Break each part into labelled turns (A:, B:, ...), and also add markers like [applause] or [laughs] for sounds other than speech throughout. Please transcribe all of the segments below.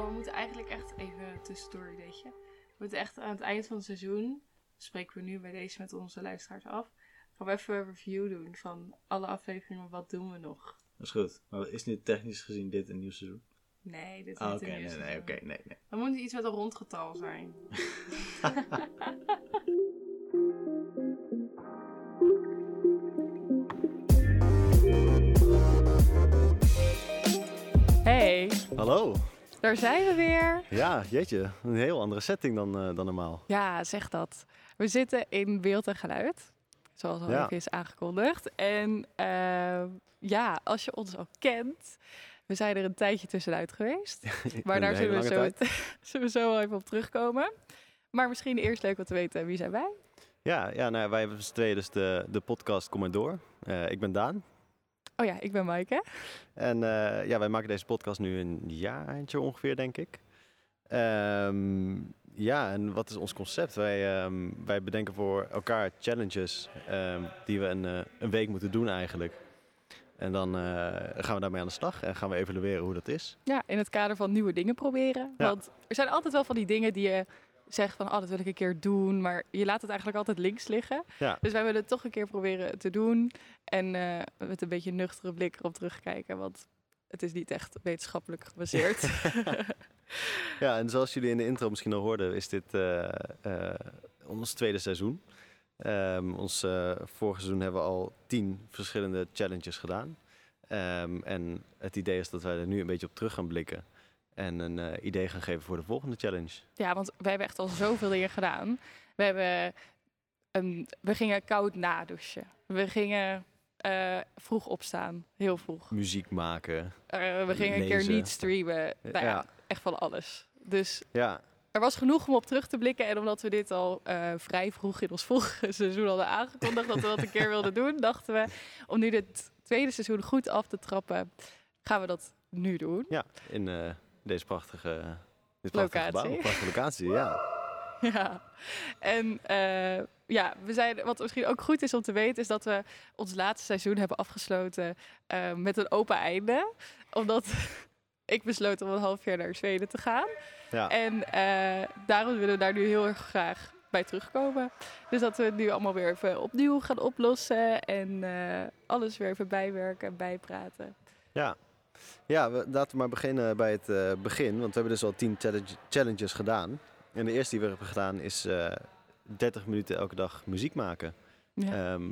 A: Oh, we moeten eigenlijk echt even tussendoor een beetje. We moeten echt aan het eind van het seizoen, spreken we nu bij deze met onze luisteraars af, gaan we even een review doen van alle afleveringen, wat doen we nog?
B: Dat is goed. Maar is nu technisch gezien dit een nieuw seizoen?
A: Nee, dit is
B: Ah,
A: niet
B: oké.
A: een nieuw
B: nee, nee,
A: seizoen.
B: oké. nee, nee.
A: Dan moet het iets met een rond getal zijn.
C: Hey,
D: Hallo.
C: daar zijn we weer.
D: Ja, jeetje. Een heel andere setting dan, eh, dan
C: [laughs]
D: normaal.
C: Ja, zeg dat. We zitten in beeld en geluid, zoals al
D: Ja.
C: even is aangekondigd. En eh, ja, als je ons al kent, we zijn er een tijdje tussenuit geweest. Maar daar zullen we, zo, [laughs] zullen we zo wel even op terugkomen. Maar misschien eerst leuk om te weten, wie zijn wij?
D: Ja, ja nou, wij hebben z'n tweeën dus de, de podcast Kom maar door. Eh, ik ben Daan.
C: Oh ja, ik ben Maaike.
D: En eh, ja, wij maken deze podcast nu een jaartje ongeveer, denk ik. Ehm, ja, en wat is ons concept? Wij, ehm, wij bedenken voor elkaar challenges ehm, die we een, eh, een week moeten doen eigenlijk. En dan eh, gaan we daarmee aan de slag en gaan we evalueren hoe dat is.
C: Ja, in het kader van nieuwe dingen proberen.
D: Ja.
C: Want er zijn altijd wel van die dingen die je zegt van, oh, dat wil ik een keer doen. Maar je laat het eigenlijk altijd links liggen.
D: Ja.
C: Dus wij willen het toch een keer proberen te doen. En eh, met een beetje een nuchtere blik erop terugkijken. Want het is niet echt wetenschappelijk gebaseerd.
D: [laughs] Ja, en zoals jullie in de intro misschien al hoorden, is dit eh, eh, ons tweede seizoen. Ehm, ons eh vorige seizoen hebben we al tien verschillende challenges gedaan. Ehm, en het idee is dat wij er nu een beetje op terug gaan blikken. En een eh, idee gaan geven voor de volgende challenge.
C: ja, want wij hebben echt al zoveel dingen gedaan. We, hebben, een- we gingen koud nadouchen. We gingen eh, vroeg opstaan. Heel vroeg.
D: Muziek maken.
C: Eh, we gingen een keer
D: Lezen.
C: niet streamen. Nou ja,
D: Ja.
C: echt van alles. Dus
D: Ja,
C: er was genoeg om op terug te blikken. En omdat we dit al eh, vrij vroeg in ons vorige [laughs] seizoen hadden aangekondigd dat we dat een keer wilden doen, dachten we om nu dit tweede seizoen goed af te trappen, gaan we dat nu doen. [laughs]
D: ja in eh, deze prachtige, dit prachtige
C: Locatie.
D: gebouw. Prachtige locatie, ja.
C: Ja. En eh, ja, we zijn, wat misschien ook goed is om te weten, is dat we ons laatste seizoen hebben afgesloten eh, met een open einde. Omdat [laughs] ik besloot om een half jaar naar Zweden te gaan.
D: ja.
C: En eh, daarom willen we daar nu heel erg graag bij terugkomen. Dus dat we het nu allemaal weer even opnieuw gaan oplossen. En eh, alles weer even bijwerken en bijpraten.
D: Ja, we, laten we maar beginnen bij het eh, begin. Want we hebben dus al tien challenge- challenges gedaan. En de eerste die we hebben gedaan is eh 30 minuten elke dag muziek maken.
C: Ja.
D: Ehm,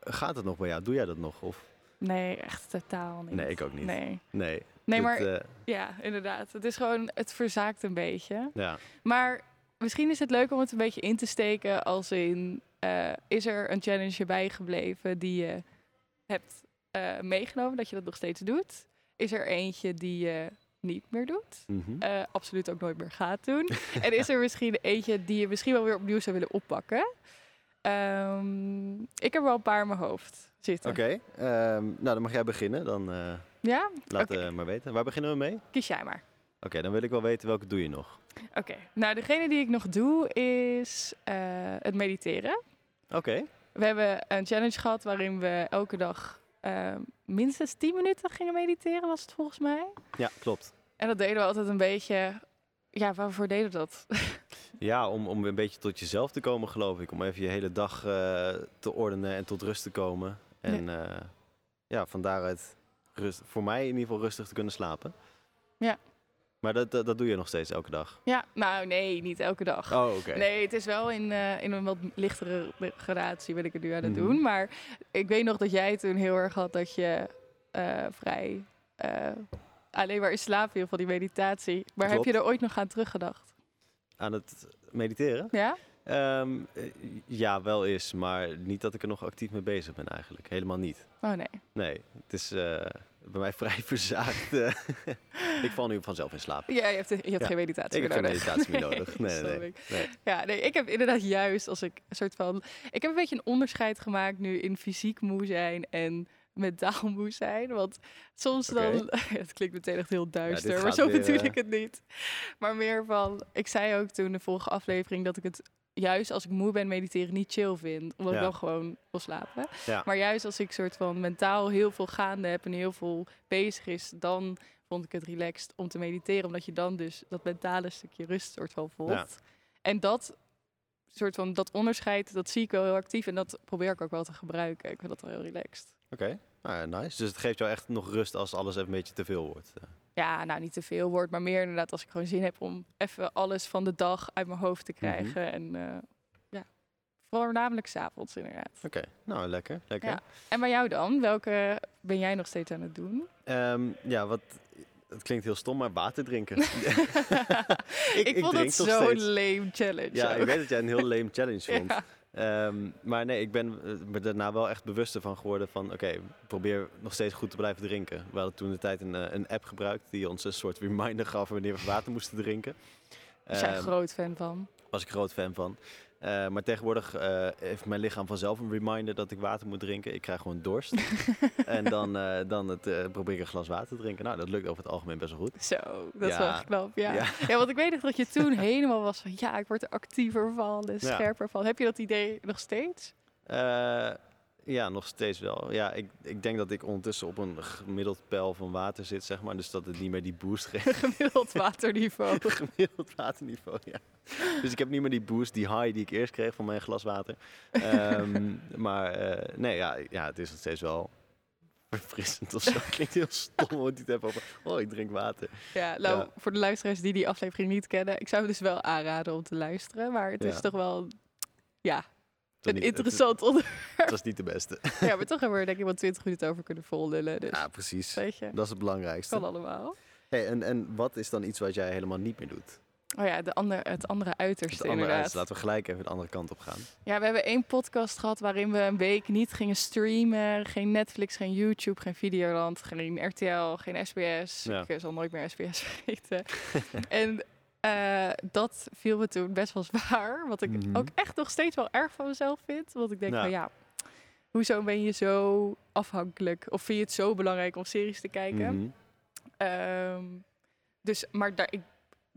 D: gaat dat nog bij jou? Doe jij dat nog? Of?
C: Nee, echt totaal niet.
D: Nee, ik ook niet.
C: Nee,
D: Nee.
C: nee
D: Dit,
C: maar
D: eh,
C: ja, inderdaad. Het is gewoon, het verzaakt een beetje.
D: ja.
C: Maar misschien is het leuk om het een beetje in te steken als in... eh, is er een challenge bijgebleven die je hebt eh, meegenomen, dat je dat nog steeds doet? Is er eentje die je niet meer doet?
D: Mhm.
C: eh, absoluut ook nooit meer gaat doen. en is er misschien eentje die je misschien wel weer opnieuw zou willen oppakken? Ehm, ik heb wel een paar in mijn hoofd zitten.
D: Oké, ehm, nou dan mag jij beginnen. Dan eh,
C: Ja?
D: laat
C: Oké.
D: eh, maar weten. Waar beginnen we mee? Oké,
C: Kies jij maar.
D: dan wil ik wel weten welke doe je nog.
C: Oké. Nou, degene die ik nog doe is eh, het mediteren.
D: Oké,
C: We hebben een challenge gehad waarin we elke dag eh, minstens 10 minuten gingen mediteren, was het volgens mij.
D: ja, klopt.
C: En dat deden we altijd een beetje... Ja, waarvoor deden we dat? [laughs]
D: Ja, om, om een beetje tot jezelf te komen, geloof ik. Om even je hele dag eh, te ordenen en tot rust te komen. En eh, ja, van daaruit rust, voor mij in ieder geval rustig te kunnen slapen.
C: Ja.
D: Maar dat, dat, dat doe je nog steeds elke dag.
C: ja, nou nee, niet elke dag.
D: Oh, oké.
C: Nee, het is wel in, eh, in een wat lichtere gradatie wil ik het nu aan het
D: Mhm.
C: doen. Maar ik weet nog dat jij toen heel erg had dat je eh, vrij eh, alleen maar in slaap viel van die meditatie. Maar heb
D: Klopt.
C: je er ooit nog aan teruggedacht?
D: Aan het mediteren?
C: Ja?
D: Ehm, eh, ja, wel is, maar niet dat ik er nog actief mee bezig ben eigenlijk. Helemaal niet.
C: Oh nee.
D: Nee, het is, eh, bij mij [laughs] vrij
C: [laughs]
D: verzaakt. eh. ik val nu vanzelf in slaap.
C: Ja, je hebt, je hebt
D: Ja,
C: geen meditatie
D: Ik heb
C: meer
D: geen
C: nodig.
D: meditatie
C: [laughs]
D: meer nodig. Nee,
C: snap
D: nee,
C: ik.
D: nee. nee.
C: Ja, nee, ik heb inderdaad juist als ik een soort van. Ik heb een beetje een onderscheid gemaakt nu in fysiek moe zijn en mentaal moe zijn. Want soms dan. [laughs] het klinkt meteen echt heel duister, maar
D: gaat
C: zo
D: weer,
C: bedoel
D: eh.
C: ik het niet. Maar meer van. Ik zei ook toen de vorige aflevering dat ik het juist als ik moe ben mediteren niet chill vind. Omdat ik
D: Ja.
C: dan gewoon wil slapen.
D: Ja.
C: Maar juist als ik soort van mentaal heel veel gaande heb en heel veel bezig is, dan vond ik het relaxed om te mediteren. Omdat je dan dus dat mentale stukje rust soort van voelt.
D: Ja.
C: En dat soort van dat onderscheid, dat zie ik wel heel actief en dat probeer ik ook wel te gebruiken. Ik vind dat wel heel relaxed.
D: Oké, nou, nice. Dus het geeft jou echt nog rust als alles even een beetje te veel wordt. Eh,
C: Ja, nou niet te veel wordt, maar meer inderdaad als ik gewoon zin heb om even alles van de dag uit mijn hoofd te
D: Mhm.
C: krijgen. En eh ja, voornamelijk s'avonds inderdaad.
D: Oké, nou lekker, lekker.
C: Ja. En bij jou dan? Welke ben jij nog steeds aan het
D: [laughs]
C: doen? [laughs]
D: Ehm, ja, wat, het klinkt heel stom, maar
C: [laughs]
D: water drinken. [laughs]
C: ik, vond het
D: drink nog
C: zo'n
D: steeds.
C: lame challenge.
D: Ja,
C: ook.
D: ik weet dat jij een heel lame
C: [laughs]
D: challenge
C: Ja.
D: vond. Ehm, maar nee, ik ben eh, me daarna wel echt bewuster van geworden van... oké, probeer nog steeds goed te blijven drinken. We hadden toen de tijd een, eh, een app gebruikt die ons een soort reminder gaf... wanneer we water moesten drinken.
C: Daar zijn
D: Ehm,
C: groot fan van.
D: was ik groot fan van. Eh, maar tegenwoordig eh, heeft mijn lichaam vanzelf een reminder dat ik water moet drinken. Ik krijg gewoon dorst. en dan, eh, dan het, eh, probeer ik een glas water te drinken. Nou, dat lukt over het algemeen best wel goed.
C: Zo, dat is
D: Ja.
C: wel echt knap. Ja. Ja.
D: Ja.
C: want ik weet nog dat je
D: [laughs]
C: toen helemaal was van ja, ik word er actiever van en
D: Ja.
C: scherper van. Heb je dat idee nog steeds? [laughs]
D: Eh, ja, nog steeds wel. Ja, ik, ik denk dat ik ondertussen op een gemiddeld peil van water zit, zeg maar. Dus dat het niet meer die boost geeft. [laughs]
C: Gemiddeld waterniveau.
D: gemiddeld waterniveau, ja. Dus ik heb niet meer die boost, die high die ik eerst kreeg van mijn glas water. Ehm, [laughs] maar eh, nee, ja, ja, het is nog steeds wel verfrissend of [laughs] zo. Klinkt heel stom, want die te hebben over, oh, ik drink water.
C: Ja, nou,
D: Ja.
C: voor de luisteraars die die aflevering niet kennen, ik zou het dus wel aanraden om te luisteren. Maar het is
D: Ja.
C: toch wel ja,
D: was
C: een
D: niet-
C: interessant [laughs] onderwerp.
D: Het was niet de [laughs] beste.
C: Ja, maar toch hebben we er denk ik wel 20 minuten over kunnen vollullen. Dus
D: Ja, precies.
C: weet je,
D: Dat is het belangrijkste.
C: kan allemaal.
D: Hey, en, en wat is dan iets wat jij helemaal niet meer doet?
C: Oh ja, de ander, het andere uiterste
D: Het andere
C: inderdaad.
D: uit. Laten we gelijk even de andere kant op gaan.
C: Ja, we hebben één podcast gehad waarin we een week niet gingen streamen. Geen Netflix, geen YouTube, geen Videoland, geen RTL, geen SBS.
D: Ja.
C: Ik eh, zal nooit meer SBS [laughs] weten. en eh, dat viel me toen best wel zwaar. Wat ik
D: Mhm.
C: ook echt nog steeds wel erg van mezelf vind. Want ik denk
D: Ja.
C: van ja, hoezo ben je zo afhankelijk? Of vind je het zo belangrijk om series te kijken?
D: Mhm.
C: Ehm, dus, maar daar, ik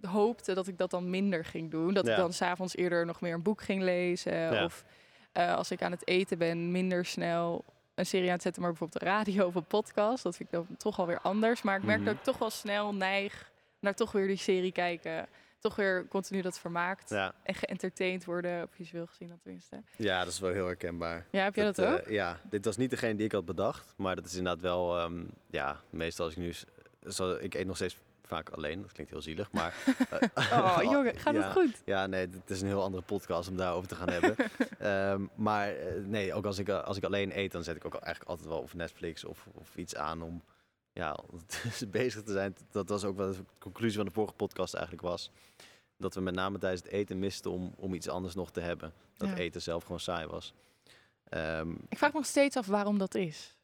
C: hoopte dat ik dat dan minder ging doen. Dat ik
D: Ja.
C: dan s'avonds eerder nog meer een boek ging lezen.
D: Ja.
C: Of eh, als ik aan het eten ben, minder snel een serie aan het zetten. Maar bijvoorbeeld de radio of een podcast. Dat vind ik dan toch alweer anders. Maar ik merk
D: Mhm.
C: dat ik toch wel snel neig naar toch weer die serie kijken. Toch weer continu dat vermaakt.
D: Ja.
C: En geëntertained worden, op visueel gezien dan tenminste.
D: ja, dat is wel heel herkenbaar.
C: Ja, heb jij dat, ook?
D: eh, ja, dit was niet degene die ik had bedacht. Maar dat is inderdaad wel, ehm, ja, meestal als ik nu... s- Zo, ik eet nog steeds vaak alleen, dat klinkt heel
C: [laughs]
D: zielig, maar... eh, [laughs]
C: oh, jongen, gaat
D: ja,
C: het goed?
D: Ja, nee, het is een heel andere podcast om daarover te gaan
C: [laughs]
D: hebben. Ehm, maar eh, nee, ook als ik, eh, als ik alleen eet, dan zet ik ook al- eigenlijk altijd wel of Netflix of, of iets aan om [laughs] ja, ondertussen bezig te zijn. Dat was ook wel de conclusie van de vorige podcast eigenlijk was. Dat we met name tijdens het eten misten om, om iets anders nog te hebben. Dat
C: Ja.
D: eten zelf gewoon saai was. Ehm,
C: Ik vraag me nog steeds af waarom dat is.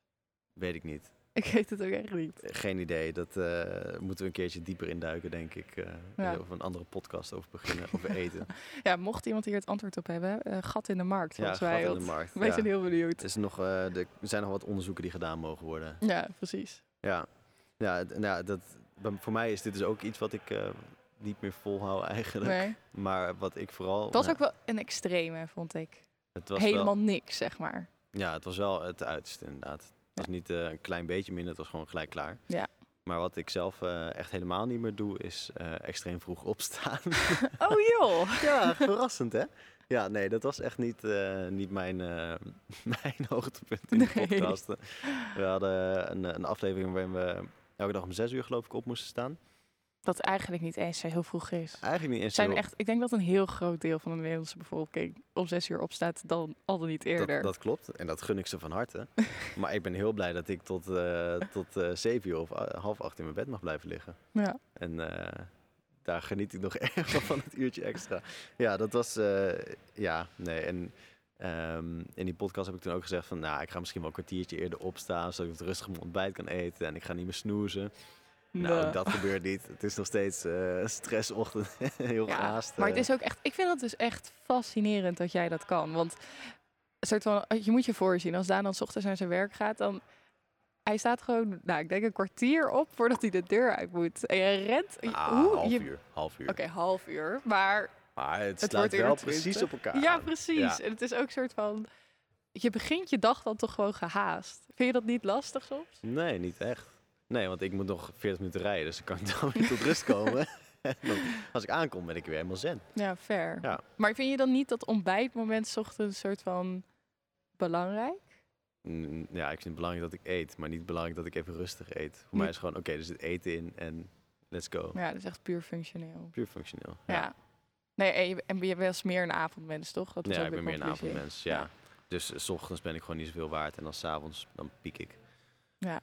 D: weet ik niet.
C: Ik weet het ook echt niet.
D: Geen idee. Dat eh, moeten we een keertje dieper induiken, denk ik. eh
C: Ja.
D: Of een andere podcast over beginnen, over
C: [laughs]
D: eten.
C: Ja, mocht iemand hier het antwoord op hebben, eh, gat in de markt.
D: ja,
C: Volgens
D: gat
C: mij.
D: in
C: want
D: de markt.
C: Wij
D: ja.
C: zijn heel benieuwd.
D: Het is nog, eh, de- er zijn nog wat onderzoeken die gedaan mogen worden.
C: Ja, precies.
D: Ja, ja, het- nou ja dat, bij- voor mij is dit dus ook iets wat ik eh, niet meer volhou eigenlijk.
C: Nee.
D: Maar wat ik vooral...
C: Het was
D: ja,
C: ook wel een extreme, vond ik.
D: het was
C: Helemaal
D: Wel,
C: niks, zeg maar.
D: ja, het was wel het uiterste inderdaad. Het was niet eh, een klein beetje minder, het was gewoon gelijk klaar.
C: Ja.
D: Maar wat ik zelf eh, echt helemaal niet meer doe, is eh, extreem vroeg opstaan.
C: Oh joh!
D: ja, verrassend hè? Ja, nee, dat was echt niet, eh, niet mijn, eh, [laughs] mijn hoogtepunt in de
C: Nee.
D: podcast. We hadden een, een aflevering waarin we elke dag om zes uur geloof ik op moesten staan.
C: Dat eigenlijk niet eens heel vroeg is.
D: Eigenlijk niet eens
C: Zijn
D: heel-
C: echt, ik denk dat een heel groot deel van de Nederlandse bevolking om zes uur opstaat dan al dan niet eerder.
D: dat, dat klopt. En dat gun ik ze van harte. [laughs] maar ik ben heel blij dat ik tot, eh, tot eh, zeven uur of eh, half acht in mijn bed mag blijven liggen.
C: Ja.
D: En eh, daar [laughs] geniet ik nog erg van, van het uurtje extra. Ja, dat was... eh, ja, nee. En Ehm, in die podcast heb ik toen ook gezegd van, nou, ik ga misschien wel een kwartiertje eerder opstaan, zodat ik het rustig mijn ontbijt kan eten en ik ga niet meer snoezen. Nou,
C: Nee.
D: ook dat gebeurt niet. Het is nog steeds eh, stressochtend, [laughs] heel
C: Ja,
D: gehaast.
C: Maar het
D: eh.
C: is ook echt, ik vind het dus echt fascinerend dat jij dat kan. Want een soort van, je moet je voorzien, als Daan dan 's ochtends naar zijn werk gaat, dan. Hij staat gewoon, nou, ik denk een kwartier op voordat hij de deur uit moet. En je rent. je-
D: Ah,
C: hoe-
D: half
C: je-
D: uur, half uur.
C: Oké, half uur. Maar
D: Maar het
C: Het
D: sluit
C: wordt
D: wel
C: uur
D: precies
C: 20.
D: op elkaar
C: ja,
D: aan.
C: precies.
D: Ja.
C: En het is ook een soort van. Je begint je dag dan toch gewoon gehaast. Vind je dat niet lastig soms?
D: Nee, niet echt. Nee, want ik moet nog 40 minuten rijden, dus dan kan ik dan weer tot
C: [laughs]
D: rust komen. [laughs] En dan, als ik aankom, ben ik weer helemaal zen.
C: Ja, fair.
D: Ja.
C: Maar vind je dan niet dat ontbijtmoment 's ochtends een soort van belangrijk?
D: Mm, Ja, ik vind het belangrijk dat ik eet, maar niet belangrijk dat ik even rustig eet. Voor mij is gewoon, oké, er zit eten in en let's go.
C: Nou Ja, dat is echt puur functioneel.
D: Puur functioneel.
C: Ja. Nee, en je, en je was meer een avondmens, toch? Dat is
D: Ja,
C: ook
D: ik
C: weer
D: ben meer een
C: conclusie.
D: avondmens, ja.
C: Ja.
D: Dus eh, s ochtends ben ik gewoon niet zoveel waard en dan s'avonds, dan piek ik.
C: Ja,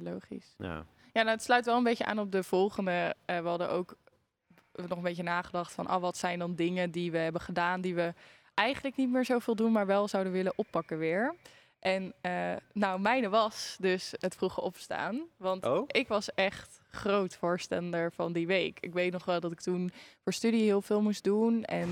C: logisch.
D: Ja.
C: Ja, nou, het sluit wel een beetje aan op de volgende. Eh, we hadden ook nog een beetje nagedacht van... Ah, wat zijn dan dingen die we hebben gedaan... die we eigenlijk niet meer zoveel doen... maar wel zouden willen oppakken weer. En eh, nou, mijne was dus het vroege opstaan. Want
D: Oh?
C: ik was echt groot voorstander van die week. Ik weet nog wel dat ik toen voor studie heel veel moest doen. En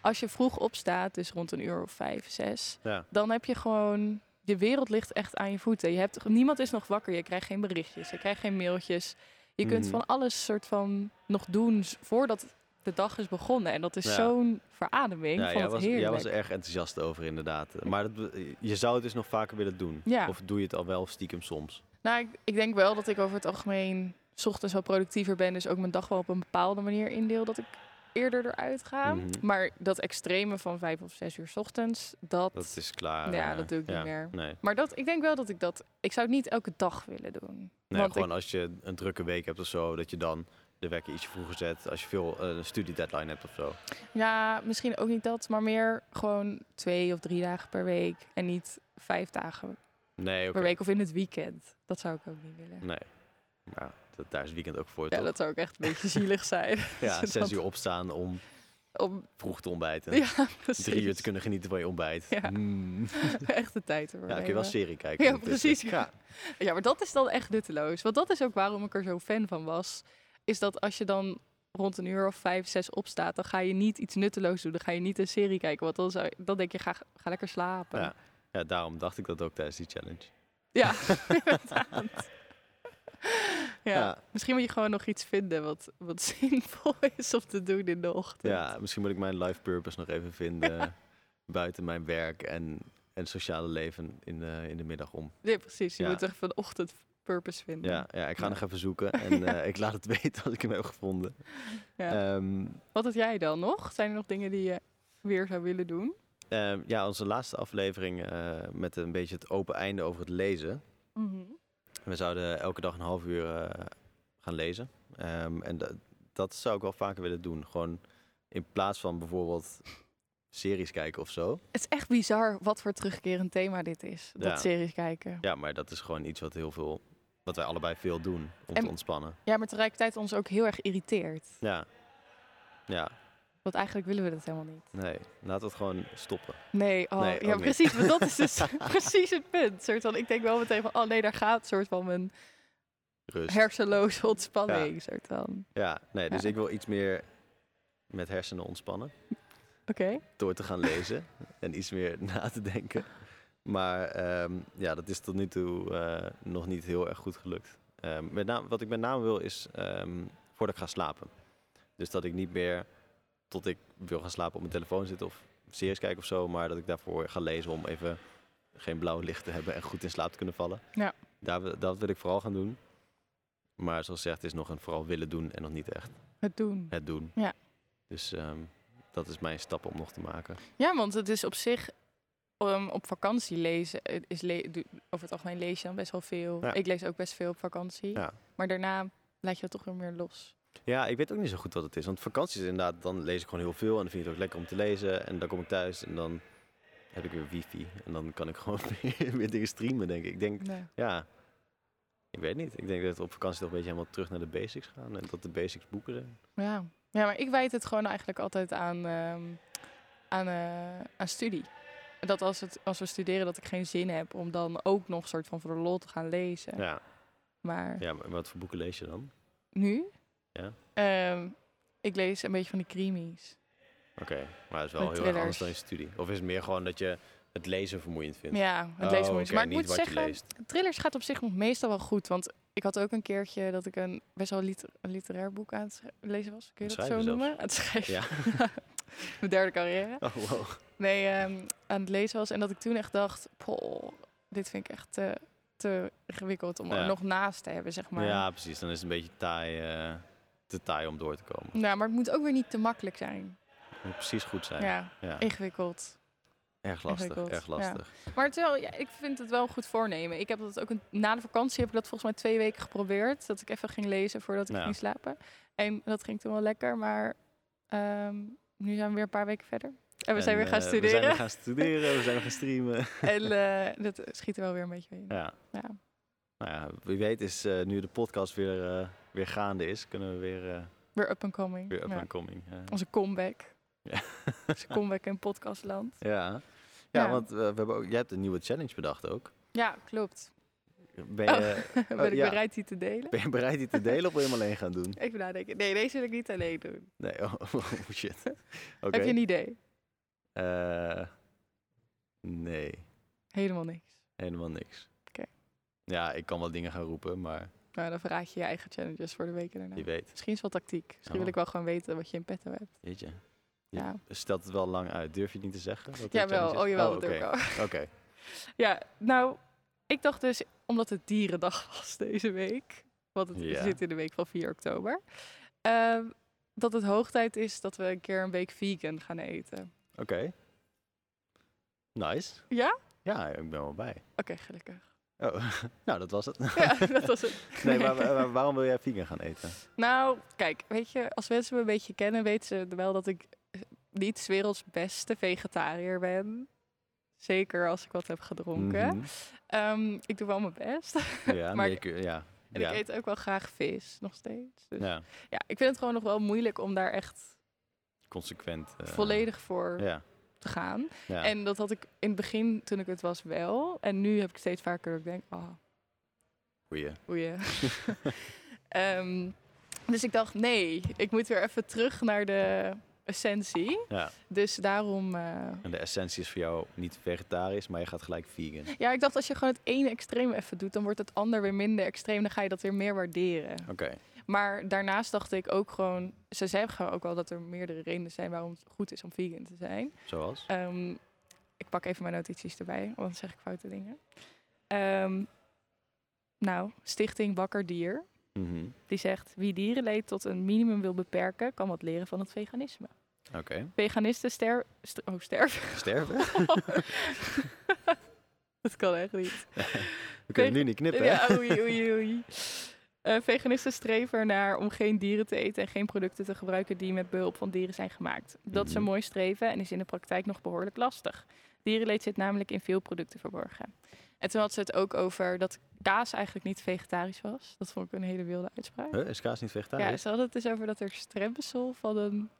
C: als je vroeg opstaat, dus rond een uur of vijf, zes,
D: Ja.
C: dan heb je gewoon. De wereld ligt echt aan je voeten. Je hebt, niemand is nog wakker. Je krijgt geen berichtjes. Je krijgt geen mailtjes. Je kunt
D: Mhm.
C: van alles soort van nog doen s- voordat de dag is begonnen. En dat is
D: Ja.
C: zo'n verademing.
D: Ja,
C: van
D: jij,
C: het
D: was, jij
C: heerlijk.
D: was er erg enthousiast over inderdaad. Maar dat, be- je zou het dus nog vaker willen doen.
C: Ja.
D: Of doe je het al wel stiekem soms?
C: Nou, ik, ik denk wel dat ik over het algemeen 's ochtends wel productiever ben. Dus ook mijn dag wel op een bepaalde manier indeel dat ik eerder eruit ga.
D: Mhm.
C: Maar dat extreme van vijf of zes uur 's ochtends, dat...
D: Dat is klaar.
C: Ja,
D: eh,
C: dat doe ik niet
D: ja,
C: meer.
D: Nee.
C: Maar dat, ik denk wel dat ik dat... Ik zou het niet elke dag willen doen.
D: Nee,
C: Want
D: gewoon als je een drukke week hebt of zo, dat je dan de wekker ietsje vroeger zet. Als je veel eh, een studiedeadline hebt of zo.
C: Ja, misschien ook niet dat, maar meer gewoon twee of drie dagen per week. En niet vijf dagen
D: Nee, oké.
C: per week of in het weekend. Dat zou ik ook niet willen.
D: Nee. Ja, dat, daar is het weekend ook voor.
C: Ja,
D: toch?
C: dat zou ook echt een [laughs] beetje zielig zijn.
D: ja
C: Als je
D: zes
C: dat-
D: uur opstaan om
C: Om,
D: vroeg te ontbijten.
C: ja, precies.
D: Drie uur te kunnen genieten van je ontbijt.
C: Ja.
D: Mm.
C: Echt de tijd ervoor
D: Ja, kun je wel
C: nemen.
D: serie kijken.
C: Ja,
D: ondertussen.
C: precies, ja. Ja, maar dat is dan echt nutteloos. Want dat is ook waarom ik er zo fan van was. Is dat als je dan rond een uur of vijf, zes opstaat, dan ga je niet iets nutteloos doen. Dan ga je niet een serie kijken. Want dan, zou, dan denk je, ga, ga lekker slapen.
D: Ja. Ja, daarom dacht ik dat ook tijdens die challenge. [laughs]
C: Ja, inderdaad. Ja,
D: Ja.
C: misschien moet je gewoon nog iets vinden wat, wat [laughs] zinvol is om te doen in de ochtend.
D: Ja, misschien moet ik mijn life purpose nog even vinden. Buiten mijn werk en, en sociale leven in de, in de middag om.
C: Nee, precies. Je
D: Ja.
C: moet echt een ochtendpurpose vinden.
D: Ja, ja ik ga
C: Ja.
D: nog even zoeken
C: [laughs]
D: en eh, ik laat het weten als ik hem heb gevonden.
C: Ja.
D: Ehm,
C: Wat had jij dan nog? Zijn er nog dingen die je weer zou willen doen?
D: ehm, ja, onze laatste aflevering eh, met een beetje het open einde over het lezen.
C: Mhm.
D: We zouden elke dag een half uur eh, gaan lezen. Ehm, en da- dat zou ik wel vaker willen doen. Gewoon in plaats van bijvoorbeeld series kijken of zo.
C: Het is echt bizar wat voor terugkerend thema dit is. Dat
D: Ja.
C: series kijken.
D: Ja, maar dat is gewoon iets wat heel veel, wat wij allebei veel doen om
C: En-
D: te ontspannen.
C: Ja, maar tegelijkertijd ons ook heel erg irriteert.
D: Ja. Ja,
C: Want eigenlijk willen we dat helemaal niet.
D: nee. Laten we het gewoon stoppen.
C: Nee, oh,
D: Nee, ook
C: ja,
D: niet.
C: precies. Want dat is
D: [laughs]
C: dus precies het punt. Soort van, ik denk wel meteen van, oh nee, daar gaat soort van mijn
D: Rust.
C: hersenloze ontspanning. Soort van.
D: ja, nee, dus
C: Ja.
D: ik wil iets meer met hersenen ontspannen.
C: Oké.
D: Door te gaan lezen [laughs] en iets meer na te denken. Maar ehm, ja, dat is tot nu toe eh, nog niet heel erg goed gelukt. Ehm, met name, wat ik met name wil is ehm, voordat ik ga slapen. Dus dat ik niet meer tot ik wil gaan slapen op mijn telefoon zit of series kijken of zo. Maar dat ik daarvoor ga lezen om even geen blauw licht te hebben en goed in slaap te kunnen vallen.
C: Ja.
D: Daar, wil- dat wil ik vooral gaan doen. Maar zoals gezegd, het is nog een vooral willen doen en nog niet echt
C: Het doen.
D: het doen.
C: Ja.
D: Dus ehm, dat is mijn stap om nog te maken.
C: Ja, want het is op zich ehm, op vakantie lezen. eh, Is le- doe- over het algemeen lees je dan best wel veel.
D: Ja.
C: Ik lees ook best veel op vakantie.
D: Ja.
C: Maar daarna laat je dat toch weer meer los.
D: Ja, ik weet ook niet zo goed wat het is. Want vakanties inderdaad, dan lees ik gewoon heel veel. En dan vind ik het ook lekker om te lezen. En dan kom ik thuis en dan heb ik weer wifi. En dan kan ik [laughs] gewoon weer, weer dingen streamen, denk ik. Ik denk,
C: Nee.
D: ja, ik weet niet. Ik denk dat het op vakantie toch een beetje helemaal terug naar de basics gaan. En dat de basics boeken zijn.
C: Ja. ja, maar ik wijd het gewoon eigenlijk altijd aan, ehm, aan, eh, aan studie. Dat als, het, als we studeren, dat ik geen zin heb om dan ook nog soort van voor de lol te gaan lezen.
D: Ja,
C: Maar
D: ja maar wat voor boeken lees je dan?
C: nu?
D: Ja.
C: Ehm, ik lees een beetje van die creamies.
D: Oké, maar dat is wel
C: Met
D: heel erg anders
C: thrillers.
D: dan je studie. Of is het meer gewoon dat je het lezen vermoeiend vindt?
C: Ja, het lezen
D: Oh,
C: moeilijk.
D: oké,
C: maar ik
D: niet
C: moet
D: wat je
C: zeggen,
D: leest.
C: thrillers gaat op zich nog meestal wel goed. Want ik had ook een keertje dat ik een best wel lit- een literair boek aan het schri- lezen was. Kun je
D: Het
C: dat zo
D: schrijven zelfs.
C: noemen? Aan het schrijven.
D: Ja.
C: [laughs] Mijn derde carrière.
D: Oh, wow.
C: Nee, ehm, aan het lezen was. En dat ik toen echt dacht, "Poh, dit vind ik echt te, te ingewikkeld om
D: Ja.
C: er nog naast te hebben, zeg maar.
D: Ja, precies. Dan is het een beetje taai, eh, te taai om door te komen.
C: Nou, maar het moet ook weer niet te makkelijk zijn.
D: Het moet precies goed zijn. Ja.
C: Ja, ingewikkeld.
D: Erg lastig,
C: ingewikkeld,
D: erg
C: ja.
D: lastig.
C: Maar terwijl, ja, ik vind het wel een goed voornemen. Ik heb dat ook een, na de vakantie heb ik dat volgens mij twee weken geprobeerd. Dat ik even ging lezen voordat ik
D: Ja.
C: ging slapen. En dat ging toen wel lekker, maar ehm, nu zijn we weer een paar weken verder. En we zijn
D: En,
C: weer gaan
D: eh,
C: studeren.
D: We zijn weer gaan studeren, we zijn weer gaan streamen.
C: [laughs] En eh, dat schiet er wel weer een beetje in.
D: Ja.
C: Ja.
D: Nou ja, wie weet is eh, nu de podcast weer, eh, weer gaande is, kunnen we weer, eh,
C: Weer up and coming.
D: weer up
C: Ja.
D: and coming.
C: [laughs]
D: eh.
C: Onze comeback.
D: Ja.
C: Onze comeback in podcastland.
D: Ja. Ja,
C: Ja.
D: want eh, we hebben ook, jij hebt een nieuwe challenge bedacht ook.
C: Ja, klopt. [laughs]
D: Ben
C: Oh.
D: je,
C: [laughs] ben
D: Oh,
C: ik
D: ja.
C: bereid die te delen?
D: ben je bereid die te delen of wil je hem alleen gaan doen?
C: Even nadenken. Nee, deze wil ik niet alleen doen.
D: Nee, oh, [laughs] oh, shit. Oké.
C: Heb je een idee?
D: Eh, nee,
C: Helemaal niks.
D: helemaal niks.
C: Oké.
D: Ja, ik kan wel dingen gaan roepen, maar
C: Nou, dan verraad je je eigen challenges voor de weken daarna.
D: wie weet.
C: Misschien is het wel tactiek. Misschien
D: Oh.
C: wil ik wel gewoon weten wat je in petto hebt.
D: Weet je. Je
C: Ja.
D: stelt het wel lang uit. Durf je het niet te zeggen? wat de
C: Jawel,
D: challenge is?
C: oh jawel, dat
D: oké.
C: durf ik wel.
D: Oké.
C: [laughs] Ja, nou, ik dacht dus, omdat het dierendag was deze week, want het
D: Ja.
C: zit in de week van 4 oktober, ehm, dat het hoog tijd is dat we een keer een week vegan gaan eten.
D: Oké. Nice.
C: Ja?
D: Ja, ik ben wel bij.
C: Oké,
D: [laughs]
C: gelukkig.
D: Oh, nou, dat was het.
C: Ja, [laughs] dat was het.
D: [laughs] Nee, maar, maar waarom wil jij vegan gaan eten?
C: [laughs] Nou, kijk, weet je, als mensen me een beetje kennen, weten ze wel dat ik eh, niet 's werelds beste vegetariër ben. Zeker als ik wat heb gedronken.
D: Mhm.
C: Ehm, ik doe wel mijn best. [laughs]
D: Ja,
C: Maar-
D: nee, ik- eh, ja.
C: En
D: ja.
C: ik eet ook wel graag vis, nog steeds. Dus ja.
D: Ja,
C: ik vind het gewoon nog wel moeilijk om daar echt
D: consequent. eh,
C: volledig voor
D: Ja,
C: te gaan.
D: ja.
C: En dat had ik in het begin, toen ik het was, wel. En nu heb ik steeds vaker dat ik denk, ah,
D: Goeie. [laughs]
C: oeie. [laughs] Ehm, dus ik dacht, nee, ik moet weer even terug naar de essentie.
D: Ja.
C: Dus daarom... eh,
D: En de essentie is voor jou niet vegetarisch, maar je gaat gelijk vegan. Oké.
C: ja, ik dacht als je gewoon het ene extreem even doet, dan wordt het ander weer minder extreem. Dan ga je dat weer meer waarderen. Maar daarnaast dacht ik ook gewoon, ze zeggen ook wel dat er meerdere redenen zijn waarom het goed is om vegan te zijn.
D: Zoals?
C: Ehm, ik pak even mijn notities erbij, want dan zeg ik foute dingen. Ehm, nou, Stichting Wakker Dier,
D: Mhm.
C: die zegt wie dierenleed tot een minimum wil beperken, kan wat leren van het veganisme.
D: Oké.
C: Veganisten ster st- oh,
D: [laughs]
C: sterven. [laughs]
D: Sterven?
C: dat kan echt niet.
D: We kunnen nu niet knippen, hè?
C: Ja, oei, oei, oei. Eh, veganisten streven ernaar om geen dieren te eten en geen producten te gebruiken die met behulp van dieren zijn gemaakt. Dat is een
D: Mhm.
C: mooi streven en is in de praktijk nog behoorlijk lastig. Dierenleed zit namelijk in veel producten verborgen. En toen had ze het ook over dat kaas eigenlijk niet vegetarisch was. Dat vond ik een hele wilde uitspraak.
D: Huh, Is kaas niet
C: Ja,
D: vegetarisch?
C: ze had het dus over dat er strembesel van een,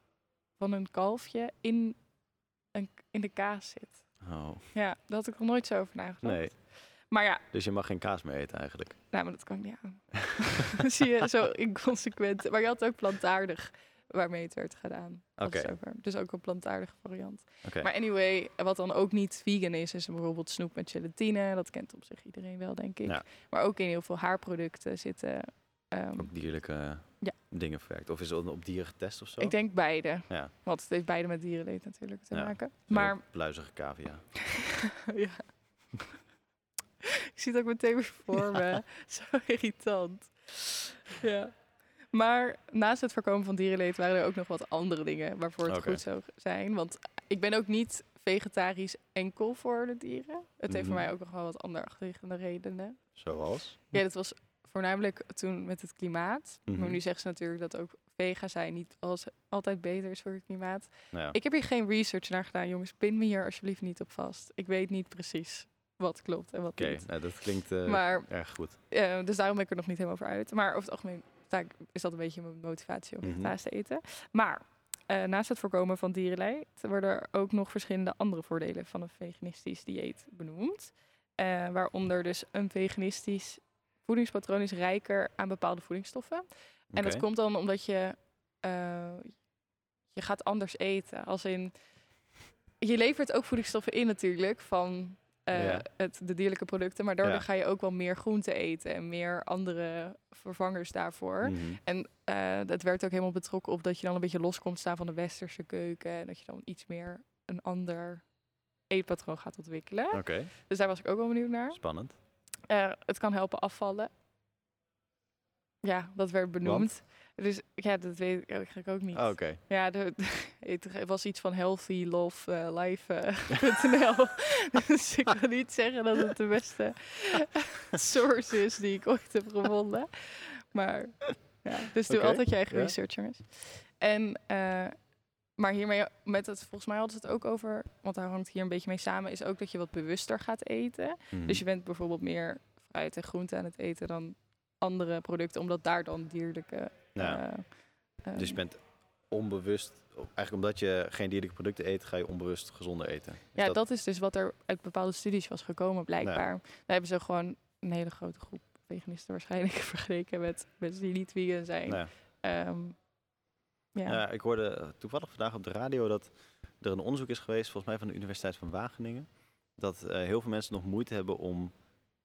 C: van een kalfje in, een, in de kaas zit.
D: Oh,
C: Ja, daar had ik nog nooit zo over nagedacht.
D: nee.
C: Maar ja,
D: Dus je mag geen kaas meer eten eigenlijk.
C: Nou, maar dat kan ik niet aan. [laughs] Zie je, zo inconsequent. Maar je had ook plantaardig waarmee het werd gedaan. Dat
D: Oké.
C: is ook waar. Dus ook een plantaardige variant.
D: Oké.
C: Maar anyway, wat dan ook niet vegan is, is bijvoorbeeld snoep met gelatine. Dat kent op zich iedereen wel, denk ik.
D: Ja.
C: Maar ook in heel veel haarproducten zitten... ehm,
D: Ook dierlijke eh,
C: Ja.
D: dingen verwerkt. Of is het op dieren getest of zo?
C: ik denk beide.
D: Ja.
C: Want het heeft beide met dierenleed natuurlijk te
D: Ja.
C: maken.
D: Zo'n
C: Maar
D: Pluizige cavia.
C: ja. ik zie het ook meteen weer voor me. [laughs] Zo irritant. Ja. Maar naast het voorkomen van dierenleed waren er ook nog wat andere dingen waarvoor het
D: Oké.
C: goed zou zijn. Want ik ben ook niet vegetarisch enkel voor de dieren. Het heeft voor
D: Mhm.
C: mij ook nog wel wat andere achterliggende redenen.
D: Zoals?
C: Ja, dat was voornamelijk toen met het klimaat. Maar
D: Mhm.
C: nu zeggen ze natuurlijk dat ook vega zijn niet als, altijd beter is voor het klimaat.
D: Nou ja.
C: Ik heb hier geen research naar gedaan, jongens. Pin me hier alsjeblieft niet op vast. Ik weet niet precies wat klopt en wat
D: Oké,
C: niet.
D: nou, dat klinkt eh,
C: Maar,
D: erg goed.
C: eh, dus daarom ben ik er nog niet helemaal over uit. Maar over het algemeen sta ik- is dat een beetje mijn motivatie om
D: Mhm.
C: vegetaars te eten. Maar eh, eh, naast het voorkomen van dierenleid worden er ook nog verschillende andere voordelen van een veganistisch dieet benoemd. Eh, waaronder dus een veganistisch voedingspatroon is rijker aan bepaalde voedingsstoffen. En dat
D: Oké.
C: komt dan omdat je, eh, je gaat anders eten. Als in, je levert ook voedingsstoffen in natuurlijk van eh,
D: Ja.
C: het, de dierlijke producten. Maar daardoor
D: Ja.
C: ga je ook wel meer groente eten en meer andere vervangers daarvoor.
D: Mhm.
C: En eh dat werd ook helemaal betrokken op dat je dan een beetje los komt staan van de westerse keuken. En dat je dan iets meer een ander eetpatroon gaat ontwikkelen.
D: Oké,
C: Dus daar was ik ook wel benieuwd naar.
D: spannend.
C: Eh, het kan helpen afvallen. Ja, dat werd benoemd. Dus ja, dat weet ik eigenlijk ook niet.
D: Ah, Oké.
C: Ja, de, het was iets van eh, [laughs] healthylovelife.nl. dus ik wil niet zeggen dat het de
D: [laughs]
C: beste source is die ik ooit heb gevonden. Maar ja, dus doe
D: Oké,
C: altijd je eigen
D: ja.
C: research, jongens. En, eh, maar hiermee, met het, volgens mij hadden ze het ook over, want daar hangt hier een beetje mee samen, is ook dat je wat bewuster gaat eten.
D: Mhm.
C: Dus je bent bijvoorbeeld meer fruit en groente aan het eten dan andere producten, omdat daar dan dierlijke.
D: Ja.
C: eh, eh,
D: Dus je bent onbewust, eigenlijk omdat je geen dierlijke producten eet, ga je onbewust gezonder eten. Is
C: ja, dat... is dus wat er uit bepaalde studies was gekomen, blijkbaar. Daar hebben ze gewoon een hele grote groep veganisten waarschijnlijk [laughs] vergeleken met mensen die niet vegan zijn.
D: Nou ja.
C: Ehm, ja.
D: Ja, ik hoorde eh, toevallig vandaag op de radio dat er een onderzoek is geweest, volgens mij van de Universiteit van Wageningen, dat eh, heel veel mensen nog moeite hebben om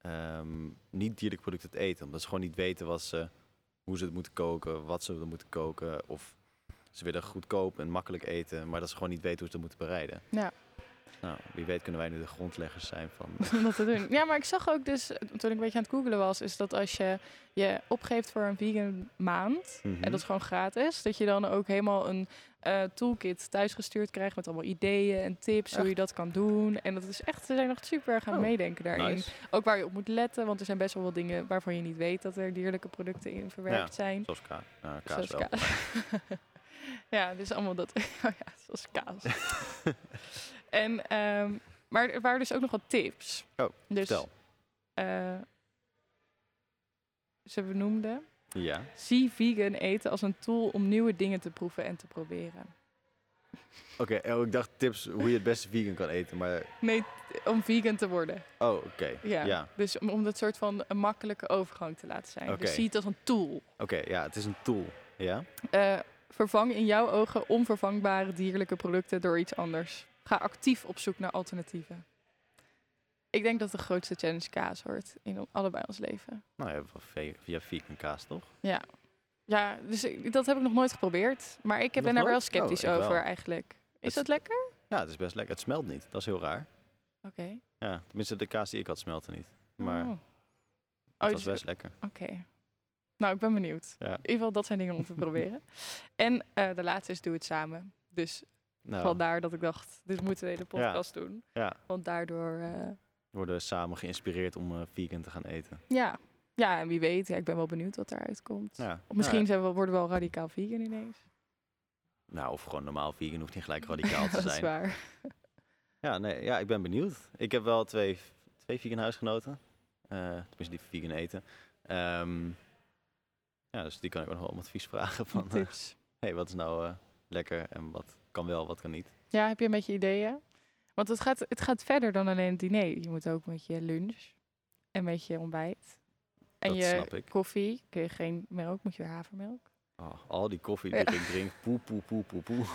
D: ehm, niet dierlijke producten te eten. Omdat ze gewoon niet weten wat ze, hoe ze het moeten koken, wat ze moeten koken. Of ze willen goedkoop en makkelijk eten, maar dat ze gewoon niet weten hoe ze dat moeten bereiden.
C: Ja.
D: Nou, wie weet kunnen wij nu de grondleggers zijn van...
C: [laughs] om dat te doen. Ja, maar ik zag ook dus, eh, toen ik een beetje aan het googelen was, is dat als je je opgeeft voor een vegan maand, [laughs] En
D: Mhm.
C: dat is gewoon gratis. Dat je dan ook helemaal een eh, toolkit thuisgestuurd krijgt met allemaal ideeën en tips hoe je dat kan doen. En dat is echt, ze zijn nog super erg aan het
D: Oh,
C: meedenken daarin.
D: Nice.
C: Ook waar je op moet letten, want er zijn best wel wat dingen waarvan je niet weet dat er dierlijke producten in verwerkt
D: Ja.
C: zijn.
D: Zoals ka eh, kaas
C: Zoals
D: wel.
C: kaas. [laughs] ja, dus allemaal dat. [laughs] oh ja, zoals kaas. [laughs] en, ehm, maar er waren dus ook nog wat tips.
D: Oh,
C: dus,
D: vertel.
C: eh, ze benoemden
D: Ja.
C: Zie vegan eten als een tool om nieuwe dingen te proeven en te proberen.
D: Oké, oh, ik dacht tips hoe je het beste vegan kan eten, maar...
C: Nee, t- om vegan te worden.
D: Oh, oké.
C: Ja.
D: ja.
C: Dus om, om dat soort van een makkelijke overgang te laten zijn.
D: Oké.
C: Dus zie het als een tool.
D: Oké, ja, het is een tool. Ja?
C: Eh, vervang in jouw ogen onvervangbare dierlijke producten door iets anders. Ga actief op zoek naar alternatieven. Ik denk dat de grootste challenge kaas hoort in on- allebei ons leven.
D: Nou ja, wel ve- via vegan kaas toch?
C: Ja, dus ik- dat heb ik nog nooit geprobeerd. Maar ik heb-
D: Nog
C: ben daar wel
D: nooit? Oh,
C: sceptisch
D: ik wel.
C: over eigenlijk. Is
D: Het-
C: dat lekker?
D: Ja, het is best lekker. Het smelt niet. Dat is heel raar.
C: Oké.
D: Ja, tenminste de kaas die ik had smelte niet. Maar
C: Oh.
D: het
C: Oh,
D: was
C: dus-
D: best lekker.
C: Oké. Nou, ik ben benieuwd.
D: Ja.
C: In ieder geval, dat zijn dingen
D: [laughs]
C: om te proberen. En eh, de laatste is doe het samen. Dus
D: Nou,
C: vandaar dat ik dacht, dit moeten we in de podcast doen.
D: Ja.
C: Want daardoor, eh,
D: we worden samen geïnspireerd om eh, vegan te gaan eten.
C: ja. Ja, en wie weet, ja, ik ben wel benieuwd wat daaruit komt.
D: Ja.
C: Of misschien zijn we, worden we wel radicaal vegan ineens.
D: Nou, of gewoon normaal vegan hoeft niet gelijk radicaal
C: [laughs]
D: te
C: dat is
D: zijn.
C: waar.
D: Ja, nee, ja, ik ben benieuwd. Ik heb wel twee, twee vegan huisgenoten. Eh, tenminste, die vegan eten. Ehm, ja, dus die kan ik ook nog wel om advies vragen
C: [laughs]
D: van... eh,
C: Tips.
D: hey, wat is nou eh, lekker en wat kan wel, wat kan niet?
C: Ja, heb je een beetje ideeën? Want het gaat, het gaat verder dan alleen het diner. Je moet ook met je lunch en met je ontbijt. En
D: Dat
C: je
D: snap ik.
C: koffie. Kun je geen melk, moet je weer havermelk.
D: Oh, al die koffie
C: Ja.
D: die ik drink, poe, poe, poe, poe, poe.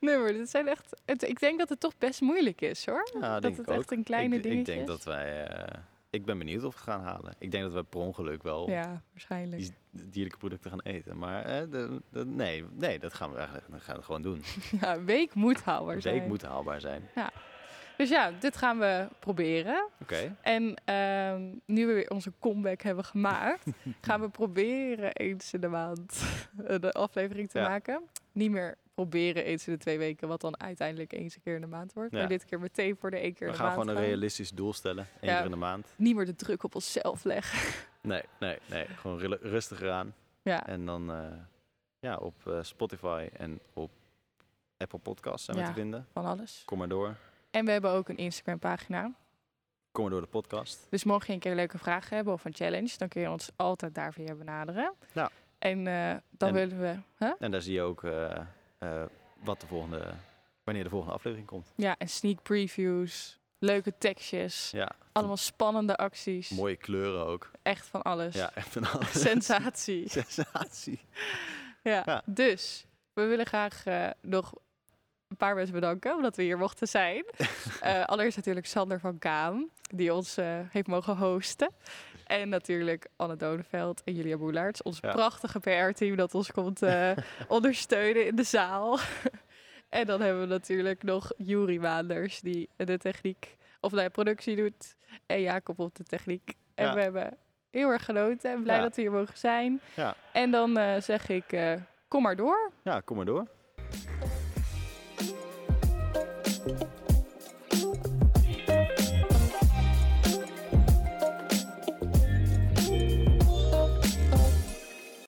C: Nee, maar dit zijn echt. Het, ik denk dat het toch best moeilijk is hoor.
D: Ja,
C: dat
D: denk
C: het
D: ik ook.
C: echt een kleine
D: ik,
C: ding is.
D: ik denk dat wij... eh, ik ben benieuwd of we het gaan halen. Ik denk dat wij per ongeluk wel
C: Ja, waarschijnlijk.
D: die dierlijke producten gaan eten. Maar eh, de- de- nee, nee, dat gaan we eigenlijk dat gaan we gewoon doen.
C: Ja, een week moet
D: De
C: haalbaar zijn.
D: week moet haalbaar zijn.
C: Dus ja, dit gaan we proberen.
D: Oké.
C: En ehm, nu we weer onze comeback hebben gemaakt,
D: [laughs]
C: gaan we proberen eens in de maand eh, de aflevering te
D: Ja.
C: maken. Niet meer proberen eens in de twee weken, wat dan uiteindelijk eens een keer in de maand wordt.
D: Ja.
C: Maar dit keer meteen voor de één keer
D: We
C: in de
D: gaan
C: maand.
D: gewoon een
C: gaan.
D: realistisch doel stellen. Eén
C: Ja.
D: keer in de maand.
C: Niet meer de druk op onszelf leggen.
D: Nee, nee, nee. Gewoon rela- rustiger aan.
C: Ja.
D: En dan eh, ja, op eh, Spotify en op Apple Podcasts zijn we
C: Ja.
D: te vinden.
C: Van alles.
D: Kom maar door.
C: En we hebben ook een Instagram pagina.
D: Kom maar door de podcast.
C: Dus mocht je een keer leuke vragen hebben of een challenge, dan kun je ons altijd daar via benaderen.
D: Ja.
C: En eh, dan
D: En-
C: willen we. Huh?
D: En daar zie je ook eh, eh, wat de volgende, wanneer de volgende aflevering komt.
C: Ja, en sneak previews, leuke tekstjes,
D: Ja,
C: allemaal spannende acties.
D: mooie kleuren ook.
C: Echt van alles. [laughs]
D: Ja, [laughs] echt een alles.
C: Sensatie.
D: [laughs] Sensatie.
C: Ja.
D: Ja.
C: Dus we willen graag eh, nog een paar mensen bedanken omdat we hier mochten
D: [laughs]
C: zijn. Eh allereerst natuurlijk Sander van Kaam, die ons eh, heeft mogen hosten. En natuurlijk Anne Donenveld en Julia Boelaerts, ons
D: Ja.
C: prachtige PR-team dat ons komt eh,
D: [laughs]
C: ondersteunen in de zaal. [laughs] en dan hebben we natuurlijk nog Juri Maanders, die de techniek of de productie doet. En Jacob op de techniek. En
D: Ja.
C: we hebben heel erg genoten en blij
D: Ja.
C: dat we hier mogen zijn.
D: Ja.
C: En dan eh, zeg ik, eh, kom maar door.
D: Ja, kom maar door.